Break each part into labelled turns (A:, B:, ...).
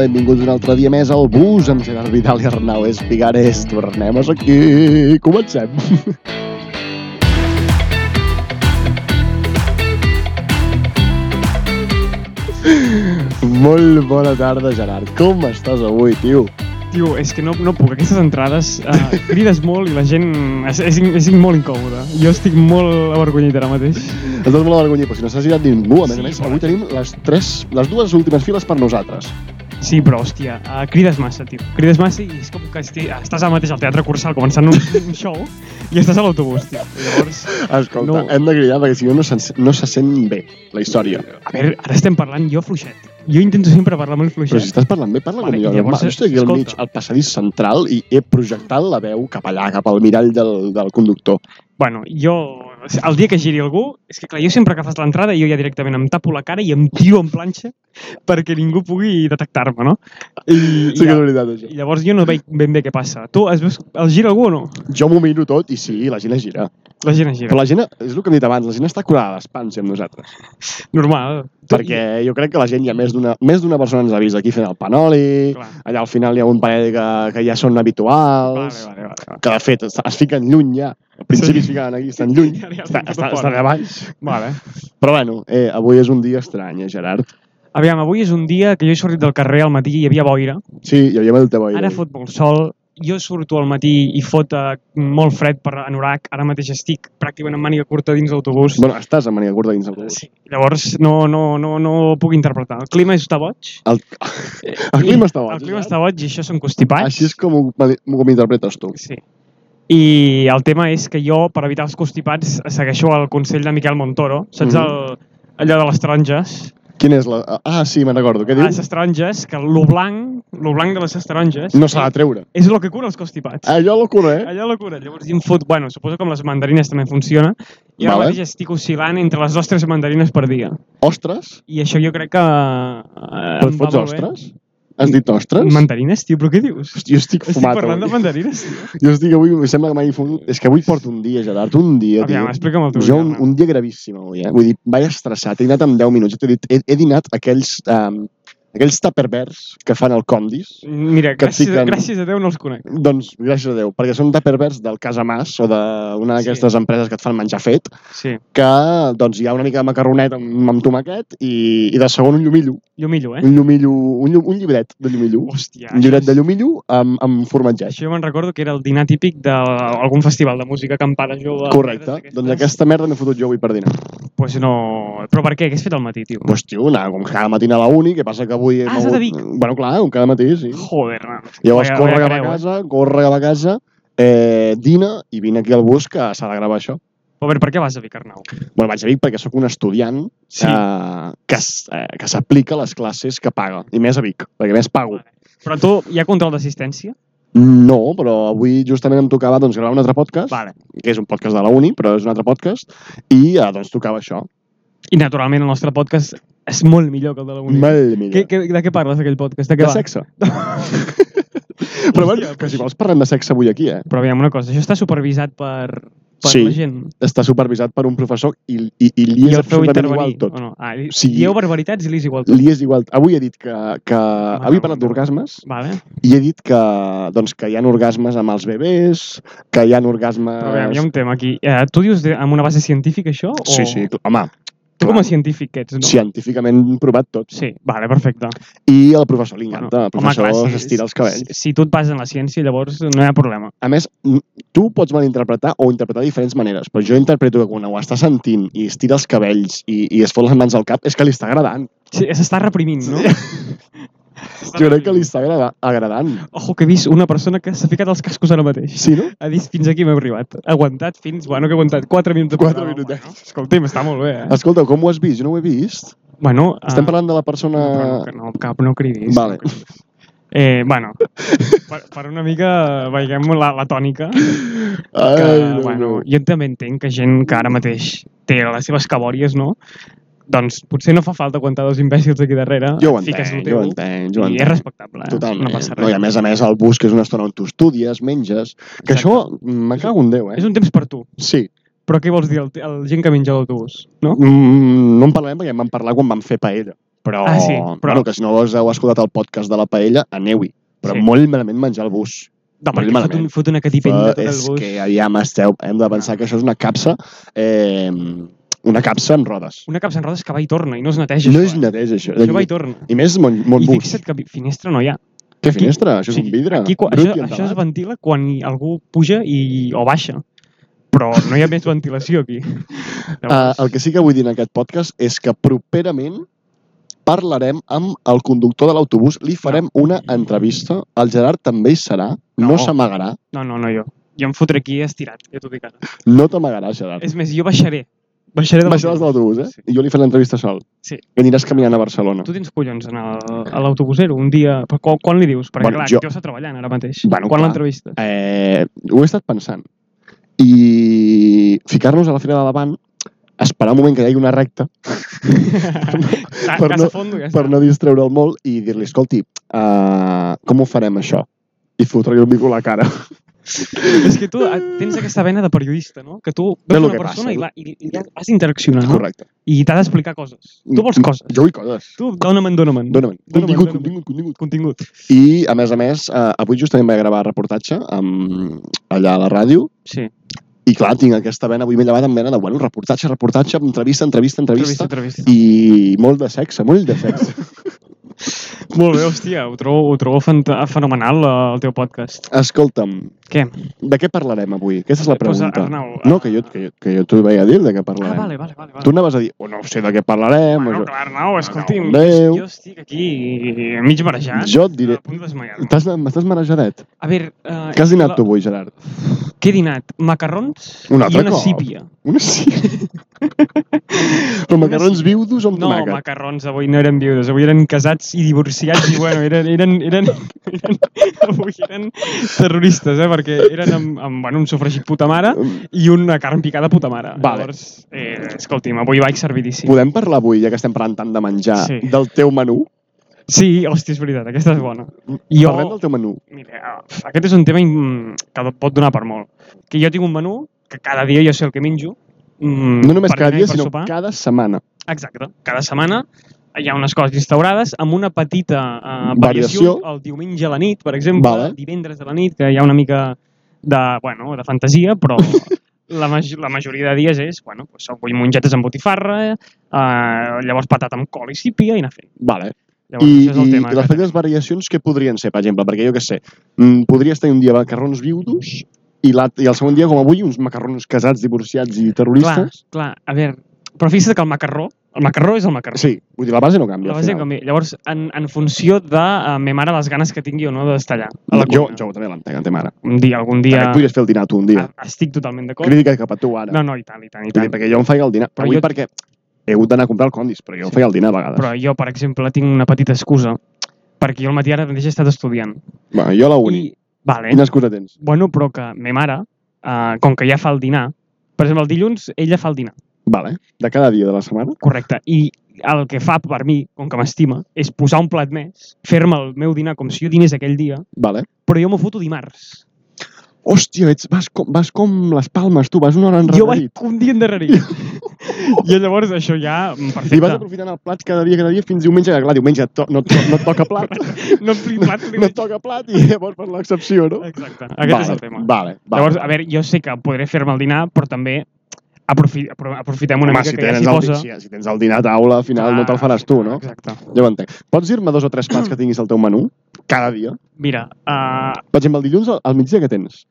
A: benvinguts un altre dia més al bus amb Gerard Vidal i Arnau Espigares. Tornem a ser aquí. Comencem. Molt bona tarda, Gerard. Com estàs avui, tio?
B: Tio, és que no, no puc. Aquestes entrades eh, crides molt i la gent és, és, in- és in- molt incòmoda. Jo estic molt avergonyit ara mateix.
A: Estàs molt avergonyit, però si no s'ha girat ningú, a més
B: Sí,
A: a més,
B: bona.
A: avui tenim les, tres, les dues últimes files per nosaltres.
B: Sí, però, hòstia, eh, crides massa, tio. Crides massa i és com que esti, estàs ara mateix al teatre Cursal començant un, un show i estàs a l'autobús, tio. Llavors,
A: Escolta,
B: No.
A: hem de cridar perquè si no no, se'n- no se sent bé la història.
B: a veure, ara estem parlant jo fluixet. Jo intento sempre parlar molt
A: Però si
B: fluixet.
A: estàs parlant bé, parla
B: Vale,
A: com
B: i
A: jo.
B: llavors,
A: Llavors, jo estic aquí al
B: escolta.
A: mig, al passadís central, i he projectat la veu cap allà, cap al mirall del, del conductor.
B: Bueno, jo... El dia que giri algú, és que clar, jo sempre que fas l'entrada jo ja directament em tapo la cara i em tiro en planxa perquè ningú pugui detectar-me, no? I,
A: Sí que
B: i,
A: és veritat, això.
B: I llavors jo no veig ben bé què passa. Tu es veus, el gira algú o no?
A: Jo m'ho miro tot i sí, la gent es gira.
B: La gent es gira.
A: Però la gent, és el que hem dit abans, la gent està curada d'espansi amb nosaltres.
B: Normal. Tu-
A: Perquè jo crec que la gent, hi ha més d'una més d'una persona ens ha vist aquí fent el panoli,
B: Clar.
A: allà al final hi ha un parell que, que ja són
B: Vale,
A: habituals,
B: vale, vale. vale.
A: que de fet es, es fiquen lluny ja. Al principi es ficaven aquí, estan lluny,
B: Ara ja
A: estan,
B: estan
A: estan,
B: fora.
A: estan a baix.
B: Vale.
A: Però bueno, eh, avui és un dia estrany, eh, Gerard.
B: Aviam, avui és un dia que jo he sortit del carrer al matí i hi havia boira.
A: Sí, hi havia molta boira.
B: Ara fot molt sol. Jo surto al matí i fot eh, molt fred per anorac. Ara mateix estic pràcticament amb màniga curta dins d'autobús.
A: Bueno, estàs amb mania curta dins el bus.
B: Sí. Llavors no, no, no, no puc interpretar. El clima està boig.
A: El, el clima està bo.
B: Eh, El clima està eh? boig i això són constipats.
A: Així és com ho, com ho interpretes tu.
B: Sí. I el tema és que jo, per evitar els constipats, segueixo el consell de Miquel Montoro. Saps
A: Mhm.
B: el, allò de les taronges?
A: Quin és la... Ah, sí, me'n recordo. Què diu?
B: Les taronges, que lo blanc, lo blanc de les taronges...
A: No s'ha de treure.
B: És el que cura els constipats.
A: Allò lo cura, eh?
B: Allò la cura. Llavors, jo em fot... Bueno, suposo que amb les mandarines també funciona. I ara
A: Vale.
B: mateix estic oscil·lant entre les ostres i mandarines per dia.
A: Ostres?
B: I això jo crec que... Eh,
A: Però
B: em
A: et
B: va
A: fots
B: molt bé.
A: ostres? Has dit ostres?
B: Mandarines, tio, però què dius?
A: Hosti, jo estic
B: Estic
A: fumat
B: parlant de
A: avui.
B: mandarines, tio.
A: Jo estic avui, em sembla que m'he fum... És que avui porto un dia, Gerard, un dia, tio.
B: Aviam, explica'm el teu
A: Jo un,
B: dia,
A: un dia gravíssim avui, eh? Vull dir, vaig estressat, he dinat en 10 minuts, he, dit, he, he dinat aquells, um, aquells tupperwares que fan al Condis,
B: Mira,
A: que et
B: gràcies,
A: fiquen-
B: gràcies a Déu no els conec.
A: Doncs gràcies a Déu, perquè són tupperwares del Casamàs o d'una
B: Sí.
A: d'aquestes empreses que et fan menjar fet,
B: Sí.
A: que doncs hi ha una mica de macarronet amb, amb tomaquet i, i de segon un llumillo,
B: Jo millo, eh?
A: un llumillo, un, llum, un llibret de llumillo,
B: Hòstia.
A: un llibret
B: això
A: de
B: és-
A: llumillo amb, amb formatget.
B: Això jo me'n recordo que era el dinar típic d'algun festival de música acampada jove.
A: Correcte. Doncs aquesta merda m'he fotut jo avui per dinar.
B: Pues no... Però per què? Què has fet al matí, tio?
A: Doncs tio, anava com cada matí a la uni, que passa que avui... he
B: Ah, has de
A: mogut-
B: Vic.
A: Bueno, clar, com cada matí, sí.
B: Joder, no.
A: Llavors
B: Vaya-
A: corre
B: vaya
A: cap a
B: creu, eh?
A: casa, corre cap a casa, eh, dina i vine aquí al bus que s'ha de gravar això.
B: A veure, per què vas a Vic, Arnau?
A: Bueno, vaig a Vic perquè sóc un estudiant sí.
B: Sí.
A: eh, que, s- eh, que s'aplica a les classes que paga. I més a Vic, perquè a més pago.
B: Però tu, hi ha control d'assistència?
A: No, però avui justament em tocava doncs, gravar un altre podcast,
B: Vale.
A: que és un podcast de la uni, però és un altre podcast, i eh, doncs tocava això.
B: I naturalment el nostre podcast és molt millor que el de la Uni.
A: Molt millor.
B: Què, què, de què parles, aquell podcast? De
A: De
B: què va?
A: sexe. però bueno, que si vols parlem de sexe avui aquí, eh?
B: Però aviam, una cosa, això està supervisat per, per
A: Sí.
B: la gent.
A: Està supervisat per un professor i, i, i li
B: I
A: és
B: el feu
A: absolutament
B: intervenir,
A: igual tot.
B: o no? Ah, li,
A: Sí.
B: Dieu barbaritats i li és igual tot.
A: Li és igual. Avui he dit que... que avui he parlat d'orgasmes,
B: Vale.
A: I he dit que, doncs, que hi ha orgasmes amb els bebès, que hi ha orgasmes...
B: Però aviam, hi ha un tema aquí. Eh, tu dius de, amb una base científica, això? O...
A: Sí, sí, cl- home,
B: Tu com
A: clar.
B: a científic que ets, no?
A: científicament provat tot.
B: Sí, vale, perfecte.
A: I al professor li encanta, el professor
B: clar, si-
A: s'estira els cabells.
B: Si, si tu et bases en la ciència, llavors no hi ha problema.
A: A més, n- tu pots malinterpretar o interpretar de diferents maneres, però jo interpreto que quan ho està sentint i estira els cabells i, i es fot les mans al cap, és que li està agradant.
B: Sí, S'està reprimint, no?
A: Jo crec que li està agrada, agradant.
B: Ojo, que he vist una persona que s'ha ficat els cascos ara mateix.
A: Sí, no?
B: Ha dit fins aquí m'he arribat. Ha aguantat fins... Bueno, que he aguantat 4 minuts. de
A: Quatre
B: programa.
A: minutets.
B: Bueno, escolti'm, està molt bé, eh?
A: Escolta, com ho has vist? Jo no ho he vist.
B: Bueno,
A: Estem parlant de la
B: Ah. No,
A: persona...
B: però no, que no, cap, no cridis.
A: Vale.
B: Eh, bueno, per, per una mica veiem la, la tònica. que,
A: Ai, no,
B: bueno,
A: no.
B: jo també entenc que gent que ara mateix té les seves cabòries, no? Doncs potser no fa falta aguantar dos imbècils aquí darrere.
A: Jo ho
B: fiques el
A: entenc,
B: teu
A: jo ho entenc, jo ho
B: I és
A: entenc.
B: respectable, eh?
A: Totalment.
B: No passa
A: No,
B: res.
A: I a més a més, el bus, que és una estona on tu estudies, menges... Que
B: Exacte.
A: això, me cago en Déu, eh?
B: És un temps per tu.
A: Sí.
B: Però què vols dir, el, el gent que menja a l'autobús, no?
A: Mm, no en parlarem perquè en vam parlar quan vam fer paella. Però,
B: Ah, sí, però-
A: Bueno, que si no us heu escoltat el podcast de la paella, aneu-hi. Però
B: Sí.
A: sí. molt malament menjar el bus.
B: No, perquè
A: malament.
B: fot, un, fot una catipella
A: Fa-
B: de tot el
A: és
B: bus. Ah.
A: que aviam esteu, hem de pensar que això és una capsa, eh, una capsa amb rodes.
B: Una capsa en rodes que va i torna i no es neteja.
A: No
B: això,
A: és
B: eh?
A: neteja, això.
B: Això va i torna.
A: I més Mont,
B: I
A: Montbus.
B: fixa't que vi- finestra no hi ha.
A: Què finestra? Això
B: o
A: és un
B: sigui,
A: vidre.
B: Aquí, quan,
A: brut
B: això,
A: i
B: això es
A: entelat.
B: ventila quan hi- algú puja i, o baixa. Però no hi ha més ventilació aquí.
A: Eh, el que sí que vull dir en aquest podcast és que properament parlarem amb el conductor de l'autobús, li farem una entrevista, el Gerard també hi serà, no,
B: No.
A: s'amagarà,
B: No, no, no, jo. Jo em fotré aquí estirat, ja t'ho dic ara.
A: no t'amagarà, Gerard.
B: És més, jo baixaré. Baixaré de
A: Baixaràs de l'autobús, eh?
B: Sí.
A: I jo li faré l'entrevista sol.
B: Sí.
A: I aniràs caminant a Barcelona.
B: Tu tens collons anar a l'autobusero un dia... Però quan, quan li dius? Perquè,
A: Bueno,
B: bueno, clar,
A: jo-
B: jo... deu estar treballant ara mateix.
A: Bueno,
B: quan
A: clar.
B: l'entrevista?
A: Eh, ho he estat pensant. I ficar-nos a la fila de davant, esperar un moment que hi hagi una recta
B: Ta-
A: per
B: T'has
A: no-
B: a fondo, ja
A: per
B: està.
A: no distreure'l molt i dir-li, escolti, uh, com ho farem això? I fotre-li el mico a la cara.
B: És que tu eh, tens aquesta vena de periodista, no? Que tu veus
A: Ve lo
B: una
A: que
B: persona
A: passa.
B: i, la, i, i la- has d'interaccionar, no?
A: Correcte.
B: I t'ha d'explicar coses. Tu vols coses.
A: Mm, Jo vull coses.
B: Tu, dona-me'n, dona-me'n.
A: Dóna'm.
B: Dóna'm,
A: Contingut,
B: dóna'm.
A: contingut, contingut.
B: Contingut.
A: I, a més a més, eh, avui justament vaig gravar reportatge amb, allà a la ràdio
B: Sí.
A: i, clar, tinc aquesta vena, avui m'he llevat amb vena de, bueno, reportatge, reportatge, entrevista, entrevista,
B: Entrevista,
A: entrevista,
B: entrevista.
A: i molt de sexe, molt de sexe.
B: Molt bé, hòstia, ho trobo, ho trobo fant- fenomenal, eh, el teu podcast.
A: Escolta'm,
B: Què?
A: de què parlarem avui? Aquesta és la
B: Doncs,
A: pregunta.
B: Arnau,
A: no, que jo, que jo, que jo t'ho vaig a dir de què
B: Ah,
A: parlarem.
B: vale, vale, vale. vale.
A: Tu anaves a dir, oh, no sé de què parlarem.
B: Bueno,
A: això.
B: clar, Arnau, escolti'm,
A: Adéu.
B: jo estic aquí eh, mig marejat.
A: Jo et diré-
B: A punt d'esmaiar.
A: T'has- M'estàs marejadet.
B: A veure... Uh,
A: Què has dinat tu avui, Gerard?
B: Què he dinat? Macarrons
A: Un altre
B: i una
A: cop?
B: sípia.
A: Una sí. Però macarrons viudos o amb
B: No,
A: tomàquet?
B: macarrons avui no eren viudes, avui eren casats i divorciats i bueno, eren, eren, eren, eren, avui eren terroristes, eh, perquè eren amb, amb bueno, un sofregit puta mare i una carn picada puta mare.
A: Vale.
B: Llavors, eh, escolti'm, avui vaig servidíssim.
A: Podem parlar avui, ja que estem parlant tant de menjar,
B: Sí.
A: del teu menú?
B: Sí, hòstia, és veritat, aquesta és bona.
A: Jo...
B: Jo-
A: Parlem del teu menú.
B: Mira, aquest és un tema mm, que pot donar per molt. Que jo tinc un menú que cada dia jo sé el que menjo. mm,
A: No només
B: per
A: cada
B: dinar i
A: dia,
B: per
A: sinó
B: sopar.
A: cada setana.
B: Exacte. Cada setmana hi ha unes coses instaurades amb una petita eh, variació
A: Variació.
B: el diumenge a la nit, per exemple,
A: Vale.
B: divendres a la nit, que hi ha una mica de, bueno, de fantasia, però la, maj la majoria de dies és, bueno, doncs avui mongetes amb botifarra, eh, llavors patata amb col i sípia i anar fent.
A: Vale.
B: Llavors,
A: I,
B: això és el
A: i,
B: tema.
A: I les
B: que-
A: petites variacions què podrien ser, per exemple? Perquè jo què sé, mm, podries tenir un dia macarrons viudos i, la, i el segon dia, com avui, uns macarrons casats, divorciats i
B: Clar,
A: terroristes.
B: clar, a veure, però fixa't que el macarró, el macarró és el macarró.
A: Sí, vull dir, la base no canvia.
B: La
A: al
B: base
A: final.
B: canvia. Llavors, en, en funció de uh, me mare les ganes que tingui o no de destallar. A la
A: Jo,
B: cuina.
A: jo també l'entenc, la teva mare.
B: Un dia, algun
A: Ja.
B: dia...
A: Podries fer el dinar tu un dia.
B: a- Ah, Estic totalment d'acord.
A: Crítica cap a tu ara.
B: No, no, i tant, i tant, i
A: Vull dir,
B: tant.
A: perquè jo em faig el dinar.
B: Però
A: Però avui
B: jo-
A: perquè he hagut d'anar a comprar el condis, però jo
B: Sí.
A: em feia el dinar a vegades.
B: Però jo, per exemple, tinc una petita excusa, perquè jo al matí ara mateix he estat estudiant.
A: Bueno, jo la uni.
B: I, vale,
A: Quina excusa tens?
B: bueno, però que me mare, uh, com que ja fa el dinar, per exemple, el dilluns ella fa el dinar,
A: Vale. De cada dia de la setmana?
B: correcte, i el que fa per mi, com que m'estima, és posar un plat més, fer-me el meu dinar com si jo dinés aquell dia,
A: Vale.
B: però jo m'ho foto dimarts.
A: Hòstia, ets, vas, com, vas com les palmes, tu, vas una hora enrere.
B: Jo vaig un dia endarrerit. I llavors això ja, mm,
A: I vas
B: perfecte.
A: aprofitant el plat cada dia, cada dia, fins diumenge, que clar, diumenge et to no, et to no et toca plat,
B: No em flipa,
A: no et toca plat i llavors per l'excepció, no?
B: Exacte, aquest
A: vale,
B: és el tema.
A: Vale, vale.
B: Llavors, a veure, jo sé que podré fer-me el dinar, però també aprofi apro- aprofitem una
A: Home,
B: mica
A: si
B: que ja
A: tens,
B: s'hi
A: el,
B: posa.
A: si, si tens el dinar a taula, al final
B: Clar,
A: no te'l faràs tu, no?
B: Exacte.
A: Ja ho entenc. Pots dir-me dos o tres plats que tinguis al teu menú? Cada dia?
B: Mira, uh,
A: Per exemple, el dilluns al, al migdia que tens?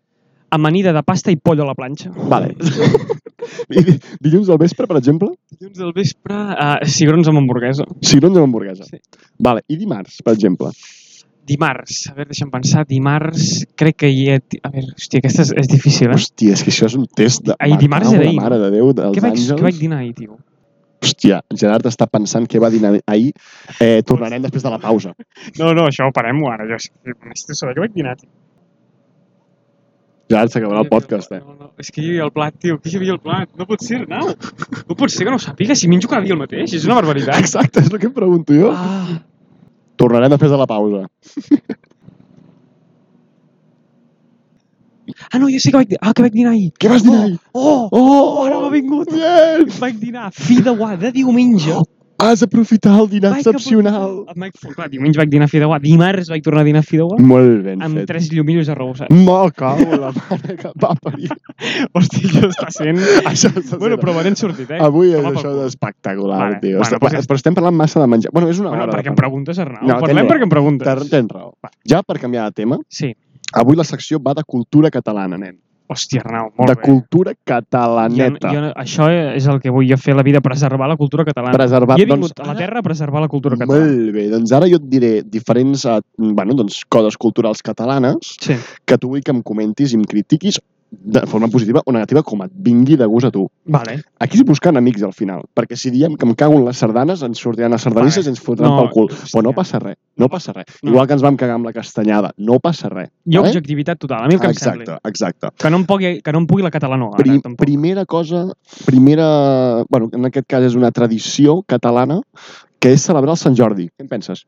B: amanida de pasta i pollo a la planxa.
A: Vale. I di- dilluns al vespre, per exemple?
B: Dilluns del vespre, uh, cigrons amb hamburguesa.
A: Cigrons amb hamburguesa.
B: Sí.
A: Vale. I dimarts, per exemple?
B: Dimarts, a veure, deixa'm pensar, dimarts crec que hi ha... A veure, hòstia, aquesta és, és difícil, eh?
A: Hòstia, és que això és un test de...
B: Ai,
A: Me
B: dimarts
A: cago
B: era
A: en
B: ahir,
A: La mare de Déu dels
B: Què vaig,
A: àngels.
B: què vaig dinar ahir, tio?
A: Hòstia, Gerard està pensant què va dinar ahir. Eh, tornarem després de la pausa.
B: No, no, això ho parem-ho ara. Jo, necessito saber què vaig dinar, tio.
A: Gerard s'acabarà el podcast, eh?
B: No, no, és que hi havia el plat, tio, aquí hi havia el plat. No pot ser, Arnau. No pot ser que no ho sàpiga, si menjo cada dia el mateix. És una barbaritat.
A: Exacte, és el que em pregunto jo.
B: Ah.
A: Tornarem després de la pausa.
B: Ah, no, jo sé que vaig, di- ah, que vaig dinar ahir.
A: Què vas dinar ahir?
B: Oh, oh,
A: Oh,
B: ara m'ha vingut.
A: Bien!
B: Vaig dinar fi de guà de diumenge
A: Has d'aprofitar el dinar Oh, excepcional.
B: Em Ah, vaig, clar, diumenge vaig dinar fideuà, dimarts vaig tornar a dinar fideuà,
A: Molt ben
B: amb
A: Mm, fet.
B: tres llumillos arrebossats.
A: Molt cau la mare que va parir.
B: Hosti, això està sent...
A: Això està
B: bueno,
A: sent-
B: però me n'hem sortit, eh?
A: Avui és
B: Home,
A: això
B: pel cul.
A: d'espectacular,
B: Vale,
A: tio. Bueno,
B: bueno, doncs ja està.
A: però estem parlant massa de menjar. Bueno, és una
B: Bueno,
A: hora.
B: perquè
A: de
B: em preguntes,
A: No,
B: Arnau. No,
A: tens
B: Parlem
A: raó.
B: perquè em preguntes.
A: Tens, tens raó.
B: Va.
A: Ja per canviar de tema,
B: Sí.
A: avui la secció va de cultura catalana, nen.
B: Hòstia, Arnau, molt
A: de
B: bé.
A: cultura
B: Jo,
A: catalaneta.
B: jo, això és el que vull jo fer a la vida, preservar la cultura catalana.
A: Preservar,
B: Jo he vingut
A: doncs,
B: a la
A: ara-
B: Terra a preservar la cultura catalana.
A: Molt bé, doncs ara jo et diré diferents eh, bueno, doncs, codes culturals catalanes
B: Sí.
A: que tu vull que em comentis i em critiquis de forma positiva o negativa com et vingui de gust a tu.
B: Vale.
A: Aquí és buscant amics al final, perquè si diem que em cago en les sardanes, ens sortiran les sardanisses i ens fotran
B: No,
A: pel cul. Però no
B: hòstia.
A: passa res, no passa res.
B: No.
A: Igual que ens vam cagar amb la castanyada, no passa res.
B: Jo,
A: vale? Ah,
B: objectivitat total, a mi el que em sembli.
A: Exacte, exacte.
B: Que no em pugui, que no em pugui la catalanoga,
A: Pri
B: ara, tampoc.
A: primera cosa, primera... Bueno, en aquest cas és una tradició catalana que és celebrar el Sant Jordi. Què en penses?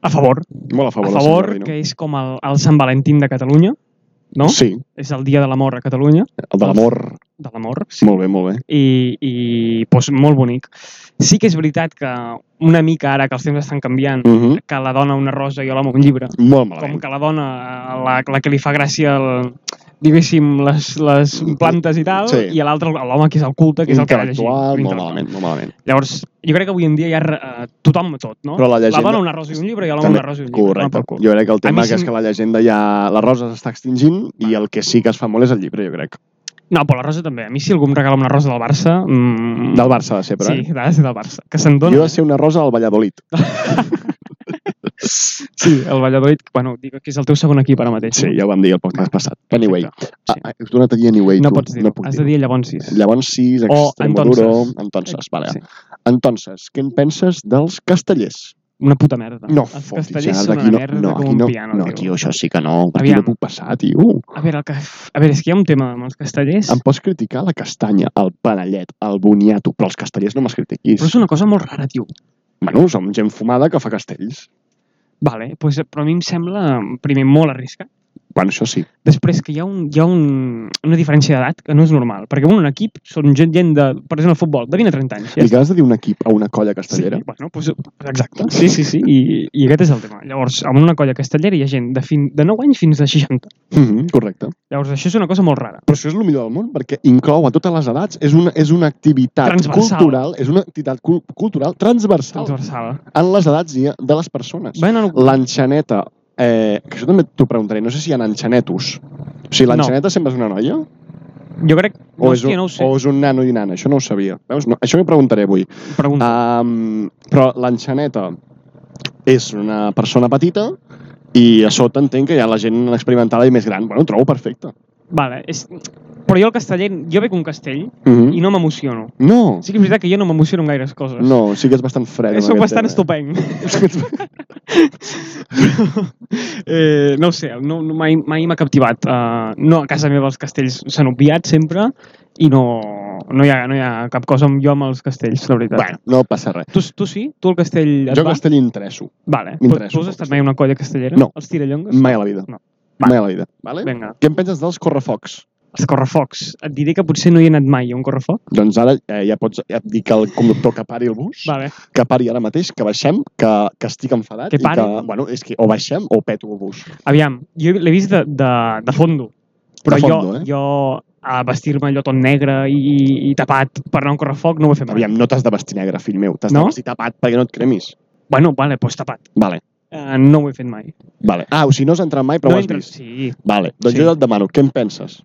B: A favor.
A: Molt a
B: A
A: favor, del Sant
B: favor,
A: Jordi, no?
B: que és com el, el Sant Valentín de Catalunya, no?
A: Sí,
B: És el dia de l'amor a Catalunya,
A: el de l'amor.
B: de l'amor,
A: Sí. Molt bé, molt bé.
B: i, i doncs, molt bonic. Sí que és veritat que una mica ara que els temps estan canviant,
A: Uh -huh.
B: que la dona una rosa i a l'home un llibre,
A: Molt
B: com
A: malament.
B: que la dona, la, la que li fa gràcia el, diguéssim, les, les plantes i tal,
A: Sí.
B: i a l'altre, a l'home que és el culte, que és el que ha llegit.
A: Intel·lectual, molt
B: L'intel·lectual.
A: malament, molt malament.
B: Llavors, jo crec que avui en dia hi ha eh, tothom a tot, no?
A: Però la llegenda...
B: La dona una rosa i un llibre i a l'home
A: També-
B: una rosa i un llibre. no?
A: Correcte.
B: Pel cul.
A: Jo crec que el
B: A
A: tema
B: mi
A: que és
B: sí-
A: que la llegenda ja... La rosa s'està extingint i el que sí que es fa molt és el llibre, jo crec.
B: No, però la rosa també. A mi si algú em regala una rosa del Barça... Mm,
A: Del Barça, de ser, però. eh?
B: Sí, ha de ser del Barça. Que se'n
A: Jo he
B: dona...
A: de ser una rosa al Valladolid.
B: Sí, el Valladolid, bueno, dic que és el teu segon equip ara mateix.
A: Sí, ja ho vam dir el podcast passat. Anyway,
B: Perfecte.
A: ah,
B: Sí.
A: ah, he donat a dir anyway,
B: No
A: tu.
B: pots dir,
A: no
B: no
A: puc
B: has de dir llavors sis.
A: Llavors sí,
B: O
A: Extremoduro...
B: entonces.
A: Entonces, vale.
B: Sí.
A: Entonces, què en penses dels castellers?
B: Una puta merda.
A: No,
B: Ah, Els
A: fotis,
B: castellers
A: Gerard,
B: són
A: aquí
B: una
A: no,
B: merda
A: no,
B: com
A: aquí
B: un
A: no,
B: piano,
A: no, tio, això sí que no, aquí
B: Aviam.
A: no puc passar, tio.
B: A veure, el que... a veure, és que hi ha un tema amb els castellers,
A: Em pots criticar la castanya, el panellet, el boniato, però els castellers no me'ls critiquis.
B: però és una cosa molt rara, tio.
A: Bueno, som gent fumada que fa castells.
B: Vale, doncs, però a mi em sembla, primer, molt arriscat.
A: Bueno, això sí.
B: Després que hi ha, un, hi ha un, una diferència d'edat que no és normal, perquè en un equip són gent, gent de, per exemple, el futbol, de 20 a 30 anys.
A: Li acabes de dir un equip a una colla castellera?
B: Sí, bueno, doncs, exacte. Sí, sí, sí, i, i aquest és el tema. Llavors, amb una colla castellera hi ha gent de, fin, de 9 anys fins a 60.
A: Mm -hmm, correcte.
B: Llavors, això és una cosa molt rara.
A: Però això és el millor del món, perquè inclou a totes les edats, és una, és una activitat
B: Transversal.
A: cultural, és una activitat cul cultural transversal
B: Transversal.
A: en les edats i de les persones.
B: Van al...
A: L'enxaneta, eh, que això també t'ho preguntaré, no sé si hi ha enxanetos. O sigui, l'enxaneta sempre és una noia?
B: Jo crec...
A: O,
B: No,
A: és un,
B: hòstia, no ho sé.
A: o és un nano i nana? Això no ho sabia. Veus? No, això m'ho preguntaré avui.
B: Pregunta.
A: Um, però l'enxaneta és una persona petita i a sota entenc que hi ha la gent experimentada i més gran. Bueno, ho trobo perfecte.
B: Vale, és... Però jo el casteller, jo veig un castell
A: Mm
B: i no m'emociono.
A: No,
B: Sí que és veritat que jo Mm-hmm. no m'emociono amb gaires coses.
A: no, sí que és bastant fred.
B: Eh,
A: en
B: Soc
A: aquest
B: bastant
A: tema.
B: estopenc. eh, no ho sé, no, no, mai mai m'ha captivat. Uh, no, a casa meva els castells s'han obviat sempre i no, no, hi ha, no hi ha cap cosa amb jo amb els castells, la veritat.
A: Bueno, no passa res.
B: Tu, tu sí? Tu el castell et
A: Jo
B: va?
A: castell interesso.
B: Vale. Tu,
A: m'interessa
B: tu has
A: molt
B: estat
A: castell.
B: mai a una colla castellera?
A: No.
B: Els tirallongues?
A: Mai a la vida.
B: No. Va.
A: Mai a la vida. Vale?
B: Vinga,
A: Què en penses dels correfocs?
B: els correfocs. Et diré que potser no hi he anat mai a un correfoc.
A: Doncs ara eh, ja pots ja et dir que el conductor que pari el bus,
B: Vale.
A: que pari ara mateix, que baixem, que, que estic enfadat.
B: Que
A: i
B: pari.
A: Que, bueno, és que o baixem o peto el bus.
B: Aviam, jo l'he vist de, de, de fondo. Però
A: de fondo, eh?
B: jo, jo a vestir-me allò tot negre i, i tapat per anar a un correfoc no ho he fet mai.
A: Aviam, no t'has de vestir negre, fill meu. T'has
B: No?
A: de vestir tapat perquè no et cremis.
B: Bueno, vale, doncs tapat.
A: Vale,
B: Uh, no ho he fet mai.
A: vale. Ah, o sigui, no has entrat mai, però
B: no
A: no ho has
B: entra-
A: vist.
B: Sí.
A: Vale, doncs
B: Sí.
A: jo et demano, què en penses?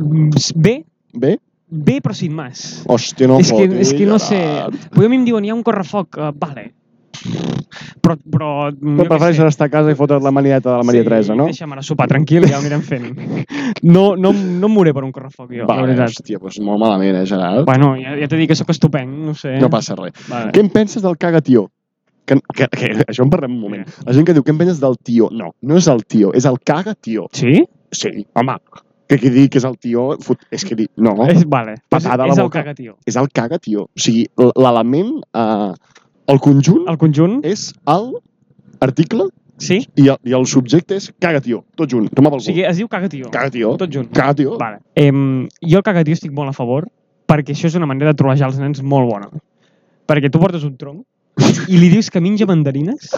B: Mm, Bé,
A: Bé?
B: bé però sin más.
A: Hòstia, Oh, no
B: és, que,
A: fotis,
B: és que no sé...
A: Gerard.
B: Però a mi em diuen, hi ha un correfoc, uh, vale. Però... però
A: Tu prefereixes estar a casa i fotre't la manieta de la Maria Teresa, no?
B: Deixa'm anar a sopar tranquil i ja ho anirem fent. No, no, no em mouré per un correfoc, jo, la
A: Vale,
B: veritat.
A: hòstia, doncs molt malament, eh, Gerard?
B: Bueno, eh? ja, ja t'he dit que sóc estupenc, no ho sé.
A: No passa res.
B: Vale.
A: Què en penses del cagatió? Que, que, que, això en parlem un moment. La gent que diu, què en penses del tio? No, no és el tio, és el cagatió.
B: Sí?
A: Sí, home, que qui digui que és el tio, fot... és que dic, no,
B: És, vale.
A: Patada a la
B: és, és el
A: boca.
B: cagatió.
A: és el cagatió. O sigui, l- l'element, eh, el conjunt
B: El conjunt,
A: és el article
B: sí?
A: i el, i el subjecte és cagatió, tot junt, toma
B: O
A: pel cul.
B: sigui, es diu cagatió.
A: Cagatió,
B: Tot junt.
A: cagatió.
B: Vale. Em, jo el cagatió estic molt a favor perquè això és una manera de trolejar els nens molt bona. perquè tu portes un tronc i li dius que menja mandarines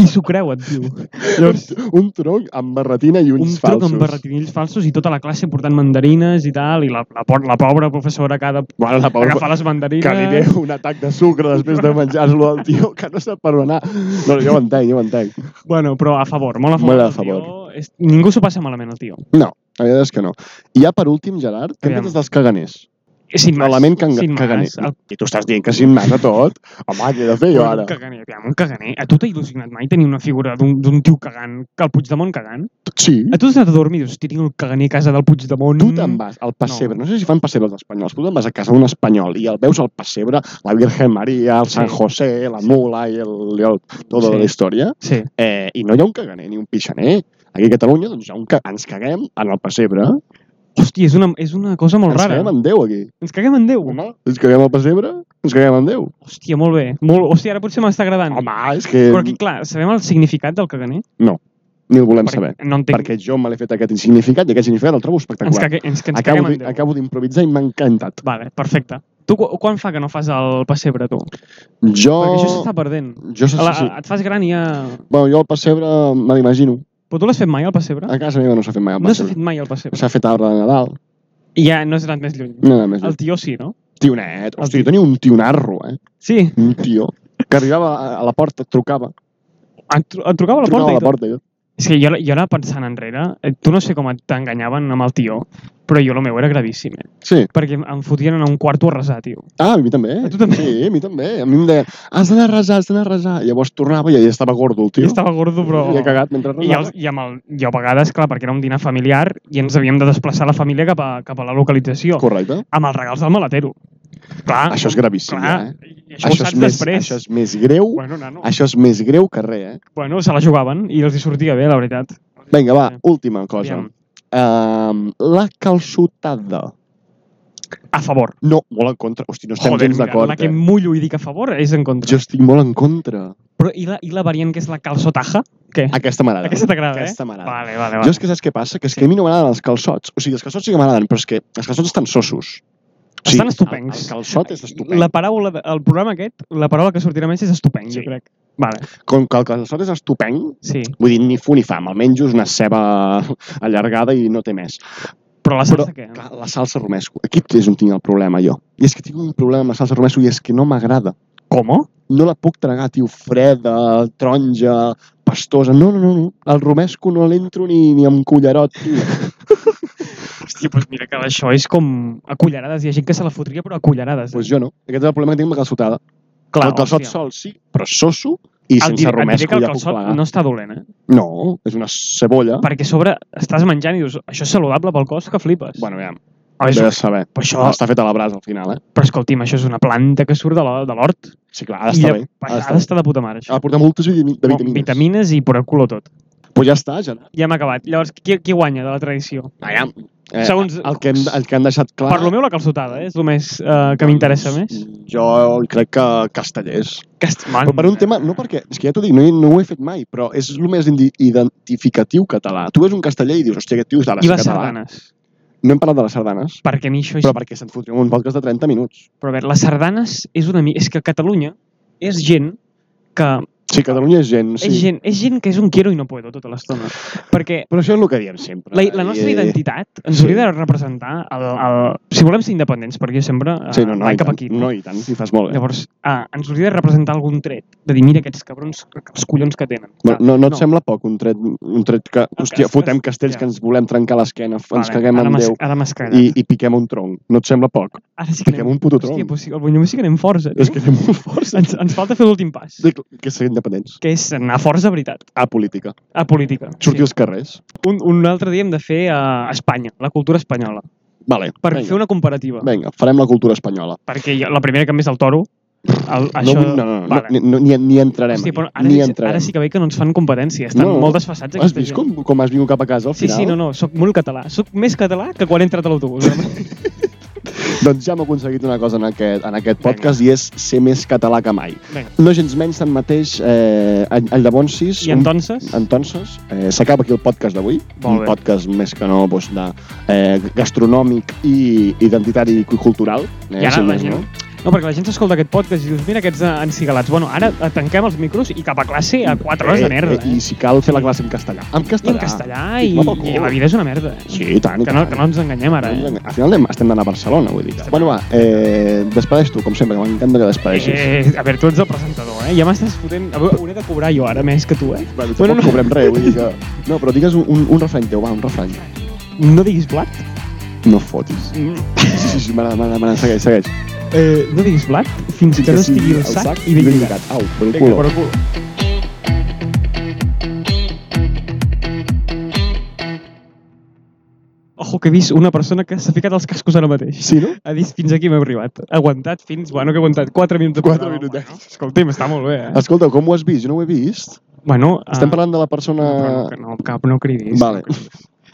B: i s'ho creu, et diu. Llavors,
A: Un tronc amb barretina i
B: un
A: ulls
B: tronc
A: falsos.
B: amb barretinills falsos i tota la classe portant mandarines i tal, i la, la, por- la pobra professora que ha de
A: Bueno, la pobra-
B: agafar les mandarines...
A: que li deu un atac de sucre després de menjar-lo al tio, que no sap per on anar. No, jo ho entenc, jo ho entenc.
B: Bueno, però a favor, molt a favor.
A: Molt a
B: del Tio, és... Ningú s'ho passa malament, el tio.
A: No, la veritat és que no. I ja per últim, Gerard, què en
B: Aviam.
A: penses dels caganers?
B: Eh, Sin mas.
A: Element canga-
B: sin mas.
A: caganer.
B: El...
A: I tu estàs dient que sin mas a tot? Home, què he de fer jo ara?
B: Un caganer, aviam, un caganer. A tu t'ha il·lusionat mai tenir una figura d'un d'un tio cagant, que el Puigdemont cagant?
A: Sí.
B: A tu t'has anat a dormir i dius, "Hòstia, tinc el caganer a casa del Puigdemont.
A: Tu te'n vas al pessebre, no. sé si fan pessebre els espanyols, tu te'n vas a casa d'un espanyol i el veus al pessebre, la Virgen Maria, el San
B: Sí.
A: José, la
B: Sí.
A: mula i el, i el tota
B: Sí.
A: la història,
B: Sí.
A: eh, i no hi ha un caganer ni un pixaner. Aquí a Catalunya doncs, hi ha un ca... ens caguem en el pessebre,
B: Hòstia, és una, és una cosa molt
A: ens
B: rara.
A: caguem en Déu aquí.
B: Ens caguem en Déu.
A: Home, ens caguem al pessebre, ens caguem en Déu.
B: Hòstia, molt bé. Molt... Hòstia, ara potser m'està agradant.
A: Home, és que
B: Però aquí, clar, sabem el significat del caganer?
A: ni ho volem
B: Perquè
A: saber.
B: No entenc.
A: Perquè jo me l'he fet aquest significat i aquest significat el trobo
B: ens,
A: espectacular.
B: cague, ens, que ens
A: Acabo,
B: caguem
A: di-
B: en Déu.
A: acabo d'improvisar i m'ha encantat.
B: Vale, perfecte. Tu qu- quan fa que no fas el pessebre, tu?
A: Jo...
B: Perquè això s'està perdent.
A: Jo, sé,
B: La,
A: sí, sí.
B: Et fas gran i ja...
A: Bueno, jo el pessebre me l'imagino.
B: Però tu l'has fet mai, el pessebre?
A: A casa meva no s'ha fet mai el
B: Ah. No s'ha
A: pessebre.
B: fet mai el pessebre.
A: S'ha fet arbre de Nadal.
B: I ja no has anat més lluny.
A: No, no, més
B: El
A: el...
B: tio sí, no?
A: Tionet.
B: el
A: Hosti,
B: tio.
A: jo tenia un tionarro, eh?
B: Sí,
A: Un tio que arribava a- a la porta, et trucava.
B: et, tru- et trucava a la
A: trucava a
B: porta i
A: la
B: tot.
A: porta i tot.
B: És que jo, jo anava pensant enrere, eh, tu no sé com et- t'enganyaven amb el tio, però jo el meu era gravíssim, eh?
A: Sí.
B: Perquè em fotien en un quarto a resar, tio.
A: Ah, a mi també.
B: A tu també?
A: Sí, a mi també. A mi em deia, has d'anar a resar, has d'anar a resar. I llavors tornava i ja estava gordo el
B: Jo
A: tio.
B: estava gordo, però...
A: I ha cagat mentre
B: I,
A: resava.
B: els, i amb el, jo a vegades, clar, perquè era un dinar familiar i ens havíem de desplaçar la família cap a, cap a la localització,
A: Correcte.
B: amb els regals del maletero. Clar,
A: Això és gravíssim,
B: clar,
A: eh?
B: i això, això ho
A: és
B: saps
A: més,
B: després.
A: això és més greu.
B: Bueno, nano,
A: Això és més greu que res, eh?
B: bueno, se la jugaven i els hi sortia bé, la veritat.
A: Vinga, va,
B: Sí.
A: última cosa.
B: Aviam.
A: Um, la calçotada.
B: A favor.
A: No, molt en contra. Hosti, no estem
B: Joder,
A: gens
B: mira,
A: d'acord.
B: la que
A: Eh?
B: mullo i dic a favor és en contra.
A: Jo estic molt en contra.
B: Però i la, i la variant que és la calçotaja? Què?
A: Aquesta m'agrada.
B: Aquesta t'agrada, eh?
A: Aquesta m'agrada.
B: Vale, vale, vale.
A: Jo és que saps què passa? Que és que a mi no m'agraden els calçots. O sigui, els calçots sí que m'agraden, però és que els calçots estan sossos. O sigui,
B: Estan
A: El,
B: estupencs.
A: el calçot és estupend.
B: La
A: La...
B: paraula, de, el programa aquest, la paraula que sortirà més és estupend,
A: Sí.
B: jo crec. Vale,
A: Com que el calçot és estupend,
B: sí.
A: vull dir, ni fu ni fam. Almenys és una ceba allargada i no té més.
B: Però la
A: Però,
B: salsa què?
A: clar, la salsa romesco. Aquí és on tinc el problema, jo. I és que tinc un problema amb la salsa romesco i és que no m'agrada.
B: Com?
A: No la puc tragar, tio. Freda, taronja, pastosa... No, no, no. no. El romesco no l'entro ni, ni amb cullerot, tio.
B: Hòstia, doncs mira que això és com a cullerades. Hi ha gent que se la fotria, però eh? a cullerades.
A: Doncs pues jo no. Aquest és el problema que tinc amb la calçotada.
B: Clar,
A: el calçot
B: hòstia.
A: sol sí, però soso i
B: Et
A: sense
B: diré- et diré
A: romesco
B: que el
A: ja puc
B: calçot
A: plegar. No...
B: no està dolent, eh?
A: no, és una cebolla. Per...
B: Perquè a sobre estàs menjant i dius, això és saludable pel cos, que flipes.
A: Bueno, aviam,
B: Ah, és,
A: he de saber.
B: però, això,
A: Oh. Està fet a la brasa al final, eh?
B: però escolti'm, això és una planta que surt de la- de l'hort.
A: Sí,
B: Ah,
A: clar, ha d'estar bé.
B: Ha
A: Ha
B: d'estar
A: d'estar bé.
B: de puta mare,
A: Ha
B: això.
A: de portar moltes vitami- de vitamines.
B: Ah, vitamines i por el culo tot.
A: Pues ja està, Gerard.
B: Ja hem acabat. Llavors, qui, qui guanya de la tradició?
A: Aviam. Eh,
B: Segons-
A: el, que hem, el que han deixat clar...
B: Per lo meu, la calçotada, eh? és el més eh, que m'interessa més.
A: Doncs, Jo crec que castellers.
B: Castman.
A: Mm. Però per un tema, no perquè, és que ja t'ho dic, no, hi- no ho he fet mai, però és el més indi- identificatiu català. Tu ves un casteller i dius, hòstia, aquest tio és de la
B: I les
A: català.
B: sardanes.
A: No hem parlat de les sardanes,
B: Perquè a mi això és...
A: però perquè se'n fotria un podcast de 30 minuts.
B: Però a veure, les sardanes és una... mi- És que Catalunya és gent que...
A: Sí, Catalunya és gent, sí.
B: És, gent, és gent que és un quiero i no puedo tota l'estona. Perquè
A: Però això és el que diem sempre.
B: la, la nostra
A: I, eh,
B: identitat ens
A: sí.
B: hauria de representar el, el... Si volem ser independents, perquè jo sempre eh,
A: Sí, no, no,
B: vaig
A: i
B: cap
A: tant,
B: aquí.
A: no, i tant, i fas molt bé.
B: Llavors, ah, ens hauria de representar algun tret, de dir, mira aquests cabrons, els collons que tenen.
A: Bueno, no, no et sembla poc un tret, un tret que, hòstia,
B: cas-
A: fotem
B: cas-
A: castells
B: ja.
A: que ens volem trencar l'esquena, f- ens
B: Vale,
A: caguem
B: ara
A: en
B: m'has-
A: Déu
B: Ara m'has cagat.
A: i, i piquem un tronc. No et sembla poc?
B: Ara sí que
A: Piquem
B: anem...
A: un puto
B: Hòstia,
A: tronc.
B: però sí, el Bunyol sí que anem força. tio.
A: És que anem molt forts.
B: ens, ens falta fer l'últim pas,
A: Sí, Que ser independents.
B: que és anar força, veritat,
A: A política.
B: a política.
A: Sortir als carrers.
B: Un, un altre dia hem de fer a Espanya, la cultura espanyola,
A: Vale,
B: per
A: vinga.
B: fer una comparativa.
A: Vinga, farem la cultura espanyola.
B: Perquè jo- la primera que em ve és el toro, el,
A: No,
B: això...
A: vull- no, no, no,
B: vale.
A: no, no, ni, ni entrarem.
B: Hòstia, però
A: aquí,
B: ara,
A: ni
B: sí,
A: entrarem.
B: ara sí que veig que no ens fan competència, estan
A: No.
B: molt desfassats.
A: Has
B: aquesta
A: vist
B: gent.
A: com, com has vingut cap a casa al
B: Sí,
A: final?
B: sí, no, no, sóc molt català. Sóc més català que quan he entrat a l'autobús.
A: Doncs ja hem aconseguit una cosa en aquest, en aquest podcast i és ser més català que mai.
B: Vinga.
A: No gens menys, tanmateix, eh, en, en Llavonsis...
B: I entonces...
A: Un, entonces, eh, s'acaba aquí el podcast d'avui.
B: Molt
A: Un
B: bé.
A: podcast més que no doncs, de, eh, gastronòmic i identitari i cultural. Eh,
B: I ara
A: si
B: la
A: més
B: gent,
A: no.
B: No, perquè la gent s'escolta aquest podcast i dius, mira aquests eh, encigalats. Bueno, ara eh, tanquem els micros i cap a classe a 4 hores de merda.
A: Eh,
B: eh?
A: I si cal fer la classe en castellà. En
B: I
A: castellà.
B: en castellà,
A: Sí,
B: i,
A: va pel cul.
B: i la vida és una merda. eh?
A: Sí, i tant, i
B: Que no,
A: tant.
B: que no ens enganyem ara, eh?
A: Al final anem, estem d'anar a Barcelona, vull dir. Bueno, va, eh, despedeix tu, com sempre, que m'encanta que despedeixis. Eh,
B: Eh, a veure, tu ets el presentador, eh? Ja m'estàs fotent... A veure, hauré de cobrar jo ara més que tu, eh?
A: bueno, tampoc no. cobrem res, vull dir que... No, però digues un, un, un refrany teu, va, un refrany.
B: No diguis blat.
A: No fotis.
B: Mm.
A: Sí, sí, m'agrada, m'agrada, m'agrada, segueix, segueix.
B: Eh, no diguis blat fins que no estigui al sac, i ben lligat.
A: Au, per el
B: Vinga,
A: culo.
B: per el cul. Ojo, que he vist una persona que s'ha ficat els cascos ara mateix.
A: Sí, no?
B: Ha dit fins aquí m'he arribat. Ha aguantat fins... Bueno, que he aguantat 4 minuts. de
A: Quatre
B: programa.
A: minutets.
B: Bueno, escolti'm, està molt bé, eh?
A: Escolta, com ho has vist? Jo no ho he vist.
B: Bueno,
A: Estem
B: eh,
A: parlant de la persona...
B: No, però no, que no, cap, no cridis.
A: Vale.
B: No cridis.